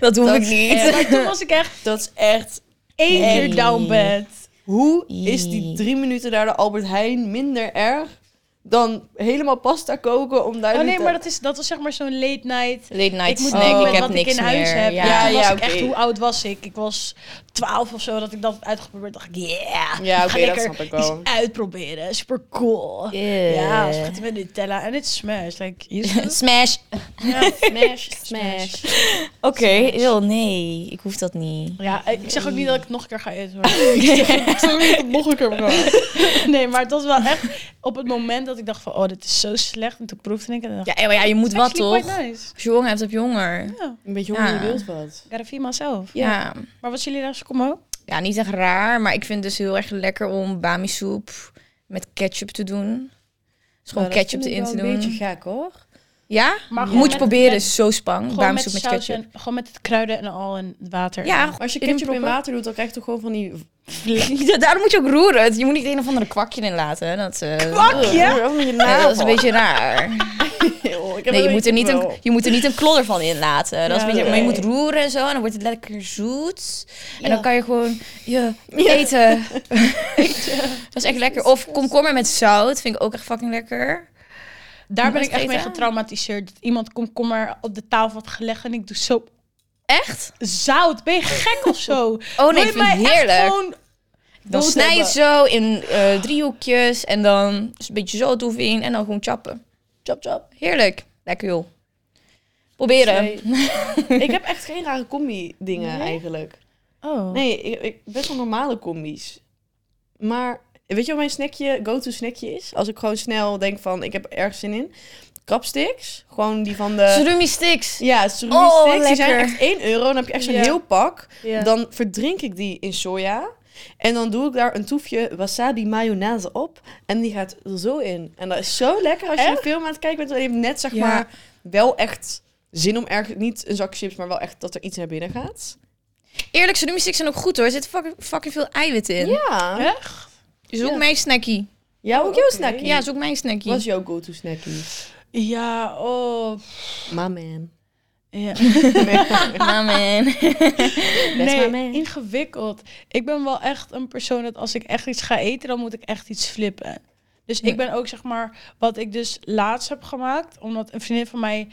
Speaker 1: dat hoef
Speaker 2: Dat
Speaker 1: ik
Speaker 2: is
Speaker 1: niet.
Speaker 3: Ja, maar toen was ik echt
Speaker 2: Dat is echt...
Speaker 3: één
Speaker 1: Nee.
Speaker 3: keer down bad. Oh,
Speaker 2: Hoe is die
Speaker 1: Ie.
Speaker 2: drie minuten daar de Albert Heijn minder erg dan helemaal pasta koken om daar
Speaker 3: Oh
Speaker 2: niet
Speaker 3: nee,
Speaker 2: te-
Speaker 3: maar dat, is, dat was zeg maar zo'n late night.
Speaker 1: Late night
Speaker 3: Ik moet
Speaker 1: snack,
Speaker 3: doen met
Speaker 1: ik heb
Speaker 3: wat
Speaker 1: niks
Speaker 3: ik in huis
Speaker 1: meer.
Speaker 3: heb.
Speaker 1: Ja.
Speaker 3: Ja, toen was
Speaker 2: Ja,
Speaker 3: ik echt,
Speaker 2: oké.
Speaker 3: hoe oud was ik? Ik was 12 of zo dat ik dat had uitgeprobeerd. dacht ik, yeah.
Speaker 2: Ja,
Speaker 3: ga
Speaker 2: oké, dat
Speaker 3: lekker
Speaker 2: snap ik
Speaker 3: iets
Speaker 2: wel.
Speaker 3: uitproberen. Super cool.
Speaker 1: Ew.
Speaker 3: Ja, spaghetti met Nutella en het smash. Like, you
Speaker 1: Smash.
Speaker 2: Smash,
Speaker 3: smash.
Speaker 1: Oké, ew, nee, ik hoef dat niet.
Speaker 3: Ja, ik zeg ook niet dat ik het nog een keer ga eten. hoor. ik zeg ook niet dat ik het nog een keer ga eten. Nee, maar het was wel echt op het moment dat ik dacht van, oh, dit is zo slecht. En toen proefde ik het en dacht ik,
Speaker 1: Ja, maar ja, je moet wat
Speaker 3: actually
Speaker 1: toch?
Speaker 3: quite nice.
Speaker 1: Als je honger hebt, heb je honger.
Speaker 3: Ja,
Speaker 2: Een beetje honger in je
Speaker 1: Ja.
Speaker 2: wilt wat.
Speaker 3: gotta feed myself.
Speaker 1: Ja.
Speaker 3: Maar was jullie daar zo combo?
Speaker 1: ja, niet echt raar, maar ik vind het dus heel erg lekker om bami soep met ketchup te doen. Dus
Speaker 2: Nou,
Speaker 1: gewoon ketchup erin te doen.
Speaker 2: een beetje gek, hoor.
Speaker 1: Ja?
Speaker 3: Maar gewoon
Speaker 1: Moet je
Speaker 3: met-
Speaker 1: proberen,
Speaker 3: met-
Speaker 1: is zo spang.
Speaker 3: Gewoon
Speaker 1: Bami
Speaker 3: met,
Speaker 1: soep met
Speaker 3: saus
Speaker 1: ketchup.
Speaker 3: en, gewoon met het kruiden en al en het water.
Speaker 1: Ja,
Speaker 2: Als je
Speaker 1: erin
Speaker 2: ketchup in
Speaker 1: proppen.
Speaker 2: water doet, dan krijg je toch gewoon van die...
Speaker 1: Ja, daarom moet je ook roeren. Je moet niet een of andere kwakje in laten. Dat, eh,
Speaker 3: Pakje?
Speaker 2: Ja, je
Speaker 1: Nee, dat is een
Speaker 2: navel.
Speaker 1: beetje raar.
Speaker 2: Joh, ik
Speaker 1: Nee,
Speaker 2: heb
Speaker 1: je
Speaker 2: dat
Speaker 1: moet, er niet
Speaker 2: wel.
Speaker 1: een, je moet er niet een klodder van in laten. Dat is
Speaker 3: Ja,
Speaker 1: een beetje, Maar je
Speaker 2: nee.
Speaker 1: moet roeren en zo. En dan wordt het lekker zoet.
Speaker 2: Ja.
Speaker 1: En dan kan je gewoon ja, eten. dat is echt lekker. Of komkommer met zout. Vind ik ook echt fucking lekker.
Speaker 3: Daar ben
Speaker 1: Nooit
Speaker 3: ik echt mee
Speaker 1: gegeten.
Speaker 3: getraumatiseerd. Dat iemand komkommer op de tafel had gelegd en ik doe zo
Speaker 1: Echt?
Speaker 3: zout. Ben je gek of zo?
Speaker 1: Oh nee, ik
Speaker 3: Wil je
Speaker 1: vind
Speaker 3: mij
Speaker 1: het
Speaker 3: echt
Speaker 1: heerlijk.
Speaker 3: gewoon
Speaker 1: Dan
Speaker 3: dood
Speaker 1: snij je het
Speaker 3: hebben?
Speaker 1: zo in eh, driehoekjes. En dan dus een beetje zo het hoef in. En dan gewoon chappen. Chop, chop. Heerlijk. Lekker joh. Proberen.
Speaker 2: Nee. ik heb echt geen rare combi-dingen eigenlijk.
Speaker 3: Oh.
Speaker 2: Nee, ik, ik- best wel normale combi's. Maar weet je wat mijn snackje, go-to snackje is? Als ik gewoon snel denk van, ik heb er erg zin in. Krapsticks. Gewoon die van de...
Speaker 1: Surumi sticks.
Speaker 2: Ja, surimi
Speaker 1: Oh,
Speaker 2: sticks. Die zijn
Speaker 1: lekker.
Speaker 2: echt 1 euro. Dan heb je echt zo'n
Speaker 3: Ja.
Speaker 2: heel pak.
Speaker 3: Ja.
Speaker 2: Dan verdrink ik die in soja. En dan doe ik daar een toefje wasabi mayonaise op. En die gaat er zo in. En dat is zo lekker als je een film aan het kijken bent. En je hebt net zeg
Speaker 1: Ja.
Speaker 2: maar wel echt zin om ergens... Niet een zak chips, maar wel echt dat er iets naar binnen gaat.
Speaker 1: Eerlijk, surimi sticks zijn ook goed hoor. Er zit fucking, fucking veel eiwit in.
Speaker 2: Ja.
Speaker 3: Echt?
Speaker 1: Zoek
Speaker 2: Ja.
Speaker 1: mijn snackie.
Speaker 2: Ja, ook jouw snackie.
Speaker 1: Ja, zoek mijn snackie.
Speaker 2: Wat is jouw go-to snackie?
Speaker 3: Ja, oh.
Speaker 2: My man.
Speaker 3: Ja.
Speaker 1: nou Amen.
Speaker 2: maar
Speaker 3: Nee,
Speaker 2: mee.
Speaker 3: ingewikkeld. Ik ben wel echt een persoon dat als ik echt iets ga eten, dan moet ik echt iets flippen. Dus
Speaker 1: Ja.
Speaker 3: ik ben ook zeg maar wat ik dus laatst heb gemaakt, omdat een vriendin van mij.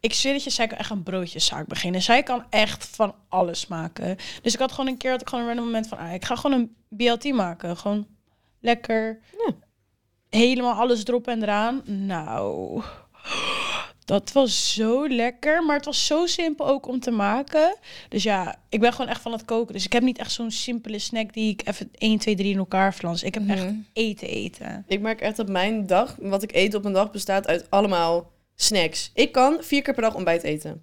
Speaker 3: Ik zweer dat je, zij kan echt een broodjeszaak beginnen. Zij kan echt van alles maken. Dus ik had gewoon een keer dat ik gewoon een random moment van, ah, ik ga gewoon een BLT maken. Gewoon lekker.
Speaker 2: Ja.
Speaker 3: Helemaal alles erop en eraan. Nou, dat was zo lekker. Maar het was zo simpel ook om te maken. Dus ja, ik ben gewoon echt van het koken. Dus ik heb niet echt zo'n simpele snack die ik even 1, 2, 3 in elkaar flans. Ik heb echt
Speaker 1: Mhm.
Speaker 3: eten eten.
Speaker 2: Ik merk echt dat mijn dag, wat ik eet op een dag, bestaat uit allemaal snacks. Ik kan vier keer per dag ontbijt eten.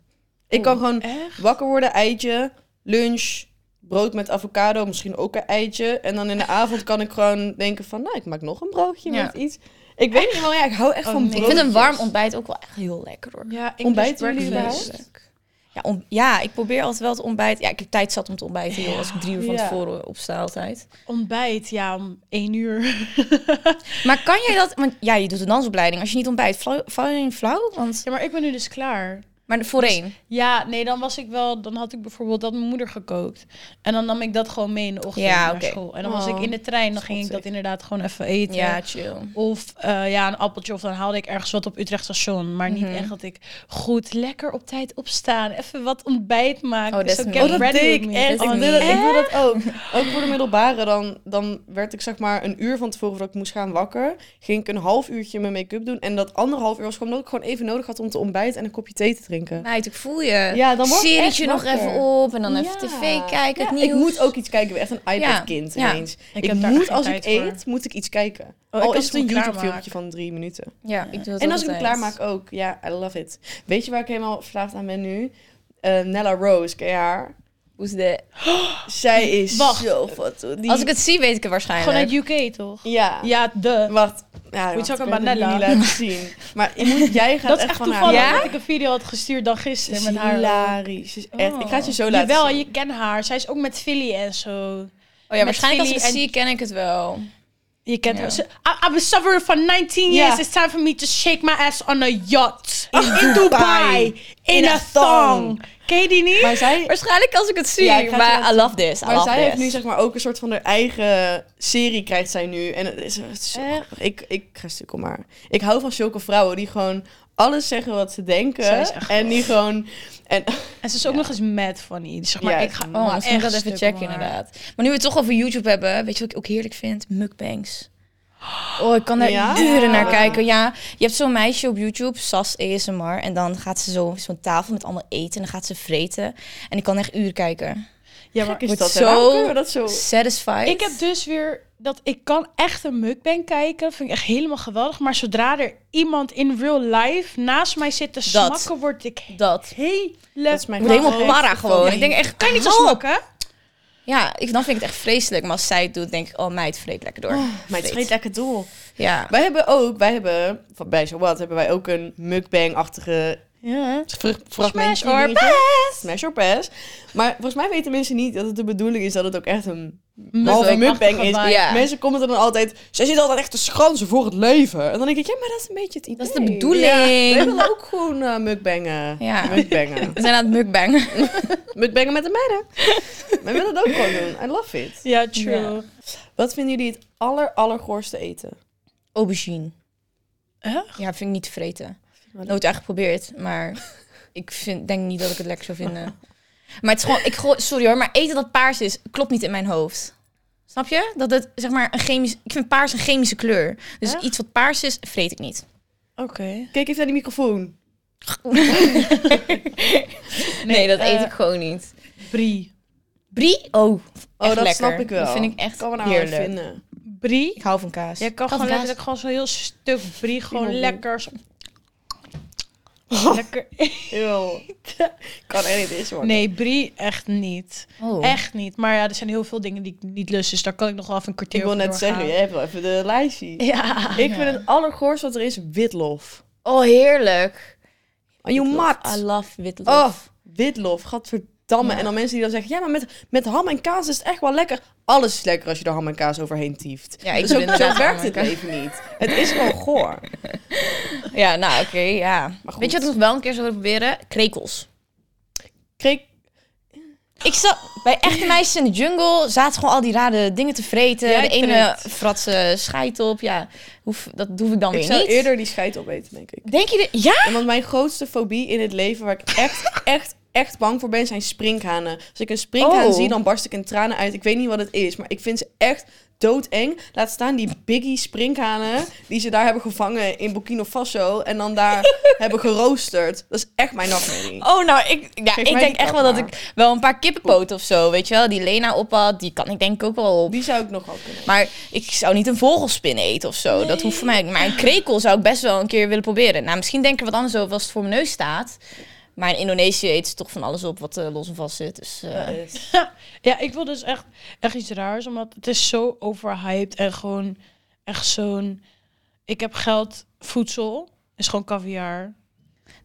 Speaker 2: Ik kan gewoon
Speaker 3: Echt?
Speaker 2: wakker worden, eitje, lunch, brood met avocado, misschien ook een eitje. En dan in de avond kan ik gewoon denken van, nou, ik maak nog een broodje
Speaker 1: Ja.
Speaker 2: met iets. Ik weet niet wel, ja, ik hou echt
Speaker 3: Oh,
Speaker 2: van
Speaker 3: nee.
Speaker 2: brood.
Speaker 1: Ik vind een warm ontbijt ook wel echt heel lekker hoor.
Speaker 3: Ja, dus
Speaker 2: Ontbijten jullie
Speaker 3: breakfast.
Speaker 1: Heerlijk. Ja, om- ja, ik probeer altijd wel te ontbijten. Ja, ik heb tijd zat om te ontbijten, joh. Als ik drie uur van
Speaker 2: Ja.
Speaker 1: tevoren opsta altijd.
Speaker 3: Ontbijt, ja, om 1 uur.
Speaker 1: Maar kan jij dat... Want ja, je doet een dansopleiding. Als je niet ontbijt, flauw- val je in flauw? Want
Speaker 3: Ja, maar ik ben nu dus klaar.
Speaker 1: Maar voorheen.
Speaker 3: Ja, nee, dan was ik wel. Dan had ik bijvoorbeeld dat mijn moeder gekookt. En dan nam ik dat gewoon mee in de ochtend
Speaker 1: Ja,
Speaker 3: naar
Speaker 1: oké.
Speaker 3: school. En dan was
Speaker 2: Oh,
Speaker 3: ik in de trein, dan ging ik dat
Speaker 2: schattig.
Speaker 3: inderdaad gewoon even
Speaker 2: eh,
Speaker 3: eten.
Speaker 1: ja, chill.
Speaker 3: Of eh, ja, een appeltje. Of dan haalde ik ergens wat op Utrecht station. Maar niet
Speaker 1: Mhm.
Speaker 3: echt dat ik goed lekker op tijd opstaan. Even wat ontbijt maken.
Speaker 1: Oh, dat is
Speaker 3: zo
Speaker 1: me.
Speaker 3: get
Speaker 1: Oh,
Speaker 2: dat
Speaker 3: ready
Speaker 2: deed
Speaker 3: with
Speaker 2: ik
Speaker 3: me.
Speaker 1: echt.
Speaker 3: Oh,
Speaker 1: nee.
Speaker 2: ik, wil dat, ik wil dat ook. Ook voor de middelbare, dan, dan werd ik zeg maar een uur van tevoren dat ik moest gaan wakker. Ging ik een half uurtje mijn make-up doen. En dat anderhalf uur was gewoon dat ik gewoon even nodig had om te ontbijten en een kopje thee te drinken.
Speaker 1: Meid, ik voel je.
Speaker 2: Ja, dan word ik
Speaker 1: Serietje
Speaker 2: echt
Speaker 1: nog
Speaker 2: wakker.
Speaker 1: even op en dan even
Speaker 2: Ja.
Speaker 1: tv kijken, het nieuws.
Speaker 2: Ja, ik moet ook iets kijken. Ik ben echt een
Speaker 1: Ja,
Speaker 2: iPad-kind
Speaker 1: ja.
Speaker 2: ineens.
Speaker 3: Ik
Speaker 2: Ik,
Speaker 3: heb daar
Speaker 2: moet,
Speaker 3: geen
Speaker 2: als ik
Speaker 3: tijd voor. Oh,
Speaker 2: eet, moet ik iets kijken.
Speaker 3: ik
Speaker 2: Al
Speaker 3: kan
Speaker 2: is het
Speaker 3: het
Speaker 2: een
Speaker 3: wel
Speaker 2: YouTube-filmpje
Speaker 3: klaarmaken.
Speaker 2: van drie minuten.
Speaker 1: Ja, ik doe het
Speaker 2: En als ik hem
Speaker 1: altijd.
Speaker 2: klaarmaak ook. Ja, I love it. Weet je waar ik helemaal verslaafd aan ben nu? Eh, Nella Rose, ken je haar?
Speaker 1: Hoe is de...
Speaker 2: Zij is
Speaker 3: Wacht.
Speaker 2: zo wat. Die...
Speaker 1: Als ik het zie, weet ik het
Speaker 3: Gewoon
Speaker 1: waarschijnlijk.
Speaker 3: uit UK toch?
Speaker 2: Ja.
Speaker 3: Ja, de.
Speaker 2: Wacht. Ja,
Speaker 3: Moet je
Speaker 2: wacht,
Speaker 3: ook
Speaker 2: ik
Speaker 3: aan
Speaker 2: wil het
Speaker 3: Nella?
Speaker 2: niet laten zien. Maar je moet, jij gaat
Speaker 3: Dat is
Speaker 2: echt
Speaker 3: echt
Speaker 2: van haar
Speaker 3: toevallig
Speaker 1: Ja?
Speaker 3: dat ik een video had gestuurd dan
Speaker 2: Ze is
Speaker 3: gisteren met haar. Oh.
Speaker 2: hilarisch. Ze is echt... Ik ga het je zo laten
Speaker 3: Jawel,
Speaker 2: zien.
Speaker 3: je kent haar. Zij is ook met Philly en zo.
Speaker 1: Oh ja,
Speaker 3: met
Speaker 1: waarschijnlijk als ik
Speaker 3: Philly
Speaker 1: het
Speaker 3: en-
Speaker 1: zie, ken ik het wel.
Speaker 3: Je kent
Speaker 1: Ja.
Speaker 3: haar. Ze, I, I've been suffering for 19
Speaker 2: Ja.
Speaker 3: years. It's time for me to shake my ass on a yacht. In,
Speaker 2: In
Speaker 3: Dubai. In,
Speaker 2: In
Speaker 3: a
Speaker 2: a
Speaker 3: thong. Ken je die niet?
Speaker 2: Maar zij...
Speaker 1: Waarschijnlijk als ik het zie,
Speaker 2: Ja, ik ga het
Speaker 1: maar
Speaker 2: laten
Speaker 1: I love this. I
Speaker 2: Maar
Speaker 1: love
Speaker 2: zij heeft
Speaker 1: this.
Speaker 2: nu zeg maar ook een soort van haar eigen serie krijgt zij nu. En het is, het is zo
Speaker 3: Echt?
Speaker 2: grappig. Ik, ik ga stuk om haar. Ik hou van zulke vrouwen die gewoon alles zeggen wat ze
Speaker 3: Zij
Speaker 2: denken.
Speaker 3: is echt
Speaker 2: en die gewoon... En,
Speaker 3: En ze is ook nog eens mad van iets. Zeg maar,
Speaker 2: Ja,
Speaker 3: ik ga
Speaker 1: Oh,
Speaker 3: maar
Speaker 1: misschien moet ik
Speaker 3: echt
Speaker 1: dat even
Speaker 3: stuk
Speaker 1: checken
Speaker 3: om haar.
Speaker 1: inderdaad. Maar nu we het toch over YouTube hebben, weet je wat ik ook heerlijk vind? Mukbangs. Oh, ik kan daar
Speaker 2: Ja?
Speaker 1: uren naar
Speaker 2: Ja.
Speaker 1: kijken. Ja, je hebt zo'n meisje op YouTube, Sas ASMR. En dan gaat ze zo zo'n tafel met allemaal eten. En dan gaat ze vreten. En ik kan echt uren kijken.
Speaker 3: Ja, maar
Speaker 2: is
Speaker 1: Wordt
Speaker 2: dat
Speaker 1: zo-
Speaker 2: zo... Waarom kunnen we dat zo...
Speaker 1: Satisfied.
Speaker 3: ik heb dus weer dat ik kan echt een mukbang kijken. Vind ik echt helemaal geweldig. Maar zodra er iemand in real life naast mij zit te smakken, word ik
Speaker 1: dat.
Speaker 3: helemaal...
Speaker 2: is mijn
Speaker 1: Ik word helemaal
Speaker 2: Gewoon
Speaker 1: para
Speaker 2: even
Speaker 1: gewoon.
Speaker 2: van-
Speaker 1: Ik denk echt,
Speaker 3: Kan je niet zo
Speaker 1: help.
Speaker 3: smakken?
Speaker 1: Ja, ik, dan vind ik het echt vreselijk. Maar als zij het doet, denk ik, oh meid, vreet lekker door.
Speaker 2: Maar het schiet lekker door.
Speaker 1: Ja.
Speaker 2: Wij hebben ook, wij hebben, van bij Zowat hebben wij ook een mukbang-achtige
Speaker 3: Ja.
Speaker 2: vr-
Speaker 3: Smash
Speaker 2: fragmentje.
Speaker 3: or
Speaker 2: dingetje. Smash or pass. Maar volgens mij weten mensen niet dat het de bedoeling is dat het ook echt een halve mukbang is.
Speaker 1: vibe. Ja.
Speaker 2: nou, Mensen commenten dan altijd, zij zit altijd echt te schransen voor het leven. En dan denk ik, ja, maar dat is een beetje het idee.
Speaker 1: Dat is de bedoeling.
Speaker 2: We willen ook gewoon eh, mukbangen.
Speaker 1: Ja.
Speaker 2: Mukbangen.
Speaker 1: We zijn aan het mukbangen.
Speaker 2: mukbangen met de meiden. We willen dat ook gewoon doen. I love it.
Speaker 3: Ja, true.
Speaker 2: Wat vinden jullie het aller, allergoorste eten?
Speaker 1: Aubergine.
Speaker 3: Echt?
Speaker 1: Ja, vind ik niet te vreten.
Speaker 2: wel
Speaker 1: Nooit echt geprobeerd, maar ik vind, denk niet dat ik het lekker zou vinden. Maar het is gewoon, ik gooi- sorry hoor, maar eten dat paars is, klopt niet in mijn hoofd. Snap je? Dat het zeg maar een chemisch, ik vind paars een chemische kleur. Dus
Speaker 3: Echt?
Speaker 1: iets wat paars is, vreet ik niet.
Speaker 3: Oké.
Speaker 2: Kijk even naar die microfoon.
Speaker 1: Nee, dat
Speaker 3: eh,
Speaker 1: eet ik gewoon niet.
Speaker 3: Brie.
Speaker 1: Brie? Oh, oh
Speaker 2: Oh, dat
Speaker 1: lekker.
Speaker 2: snap ik wel.
Speaker 1: Dat vind ik echt
Speaker 2: kan we nou wel
Speaker 1: heerlijk.
Speaker 2: vinden.
Speaker 3: Brie?
Speaker 1: Ik hou van kaas.
Speaker 3: Je kan
Speaker 1: Kan
Speaker 3: gewoon
Speaker 1: kaas.
Speaker 3: letterlijk gewoon zo'n heel stuk brie gewoon
Speaker 2: Piemel.
Speaker 3: lekker... zo-
Speaker 2: Oh.
Speaker 3: Lekker.
Speaker 2: Eeuw. kan er niet eens worden.
Speaker 3: Nee, brie echt niet.
Speaker 1: Oh.
Speaker 3: Echt niet. Maar ja, er zijn heel veel dingen die ik niet lust. Dus daar kan ik nog wel even een kwartier
Speaker 2: Ik wil
Speaker 3: over
Speaker 2: net zeggen, jij
Speaker 3: doorgaan.
Speaker 2: hebt wel even de lijstje.
Speaker 3: Ja.
Speaker 2: Ik vind het allergoorst wat er is witlof.
Speaker 1: oh, heerlijk.
Speaker 2: Aan je
Speaker 1: Witlof. I
Speaker 2: mat.
Speaker 1: love witlof.
Speaker 2: Oh, witlof. Gadverdamme.
Speaker 1: Ja.
Speaker 2: En dan mensen die dan zeggen, ja, maar met, met ham en kaas is het echt wel lekker. Alles is lekker als je er ham en kaas overheen tieft.
Speaker 1: Ja, ik
Speaker 2: dus
Speaker 1: doe
Speaker 2: ook, zo
Speaker 1: inderdaad
Speaker 2: werkt
Speaker 1: ham en
Speaker 2: het
Speaker 1: kaas.
Speaker 2: leven niet. Het is gewoon goor.
Speaker 1: Ja, nou oké, ja.
Speaker 2: goed.
Speaker 1: Weet je wat ik nog wel een keer zou willen proberen? Krekels.
Speaker 2: Kreek,
Speaker 1: Ik zat bij echte meisjes in de jungle, zaten gewoon al die rare dingen te vreten.
Speaker 3: Jij
Speaker 1: de ene
Speaker 3: prikt.
Speaker 1: fratse scheit op. Ja, hoef, dat doe ik dan
Speaker 2: ik
Speaker 1: weer
Speaker 2: zou
Speaker 1: niet.
Speaker 2: eerder die scheid opeten, denk ik.
Speaker 1: Denk je de... Ja?
Speaker 2: En want mijn grootste fobie in het leven, waar ik echt, echt, echt bang voor ben, zijn springhanen. Als ik een springhaan
Speaker 1: Oh.
Speaker 2: zie, dan barst ik in tranen uit. Ik weet niet wat het is, maar ik vind ze echt doodeng. Laat staan die biggie springhanen die ze daar hebben gevangen in Burkina Faso en dan daar hebben geroosterd. Dat is echt mijn nachtmerrie.
Speaker 1: Oh, nou, ik, ja,
Speaker 2: Geef
Speaker 1: ik
Speaker 2: mij
Speaker 1: denk
Speaker 2: die
Speaker 1: echt
Speaker 2: kap
Speaker 1: wel dat
Speaker 2: maar.
Speaker 1: ik wel een paar kippenpoten of zo, weet je wel. Die Lena op had, die kan ik denk ik ook wel op.
Speaker 2: Die zou ik nog wel kunnen.
Speaker 1: Maar ik zou niet een vogelspin eten of zo. Dat hoeft voor mij niet. Maar een krekel zou ik best wel een keer willen proberen. Nou, misschien denk ik er wat anders over als het voor mijn neus staat. Maar in Indonesië eten ze toch van alles op wat eh, los en vast zit. Dus, eh,
Speaker 3: Ja, ik wil dus echt, echt iets raars, omdat het is zo overhyped en gewoon echt zo'n... Ik heb geld, voedsel, is gewoon caviar.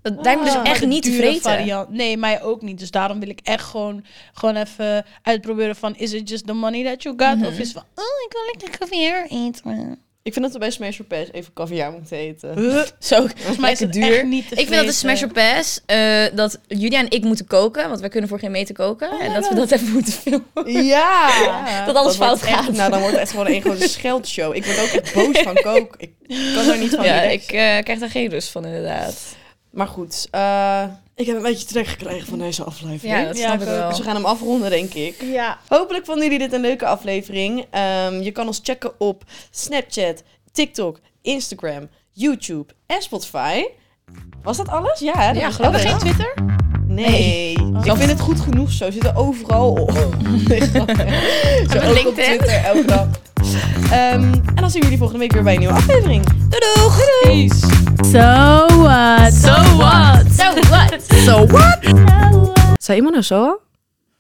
Speaker 1: Dat lijkt me dus
Speaker 2: Ah.
Speaker 1: echt
Speaker 3: Maar de
Speaker 1: niet te
Speaker 3: dure
Speaker 1: vreten.
Speaker 3: variant- Nee, mij ook niet. Dus daarom wil ik echt gewoon, gewoon even
Speaker 2: Mhm.
Speaker 3: uitproberen van... Is it just the money that you got? Of is het van, oh, ik wil lekker caviar eten.
Speaker 2: Ik vind dat we bij Smash or Pass even caviar moeten eten.
Speaker 3: Huh?
Speaker 1: Zo,
Speaker 3: Volgens mij is
Speaker 1: lekker
Speaker 3: het
Speaker 1: duur.
Speaker 3: echt niet te
Speaker 1: Ik vind dat de Smash
Speaker 3: vreten.
Speaker 1: or Pass, eh, dat Julia en ik moeten koken, want wij kunnen voor geen meter koken.
Speaker 3: my
Speaker 1: en dat we dat
Speaker 3: God.
Speaker 1: even moeten filmen.
Speaker 2: Ja!
Speaker 3: Ja.
Speaker 1: dat alles
Speaker 2: Dat wordt
Speaker 1: fout
Speaker 2: echt-
Speaker 1: gaat.
Speaker 2: nou, dan wordt het echt gewoon een grote scheldshow. Ik word ook echt boos van kook. Ik kan er niet van
Speaker 1: ja,
Speaker 2: relaxen.
Speaker 1: ik eh, krijg daar geen rust van inderdaad.
Speaker 2: Maar goed, eh, ik heb een beetje trek gekregen van deze aflevering.
Speaker 1: Ja, dat
Speaker 3: Ja,
Speaker 1: snap
Speaker 3: ik
Speaker 1: ik
Speaker 3: ook.
Speaker 1: wel.
Speaker 2: Dus we gaan hem afronden, denk ik.
Speaker 3: Ja.
Speaker 2: Hopelijk vonden jullie dit een leuke aflevering. Ehm, je kan ons checken op Snapchat, TikTok, Instagram, YouTube en Spotify. Was dat alles? Ja, hè? Dat
Speaker 1: Ja,
Speaker 2: was
Speaker 1: geloof
Speaker 2: alles.
Speaker 1: ik.
Speaker 3: Geen Twitter?
Speaker 2: Nee. Ik vind het goed genoeg zo. Ze Zitten overal op. Nee, grapje. zo
Speaker 1: op
Speaker 2: ook op
Speaker 1: LinkedIn.
Speaker 2: Twitter, elke dag. Ehm, en dan zien we jullie volgende week weer bij een nieuwe aflevering.
Speaker 1: Doei doeg!
Speaker 2: Peace.
Speaker 3: So what?
Speaker 1: So what? So what?
Speaker 2: Zei iemand nou zo?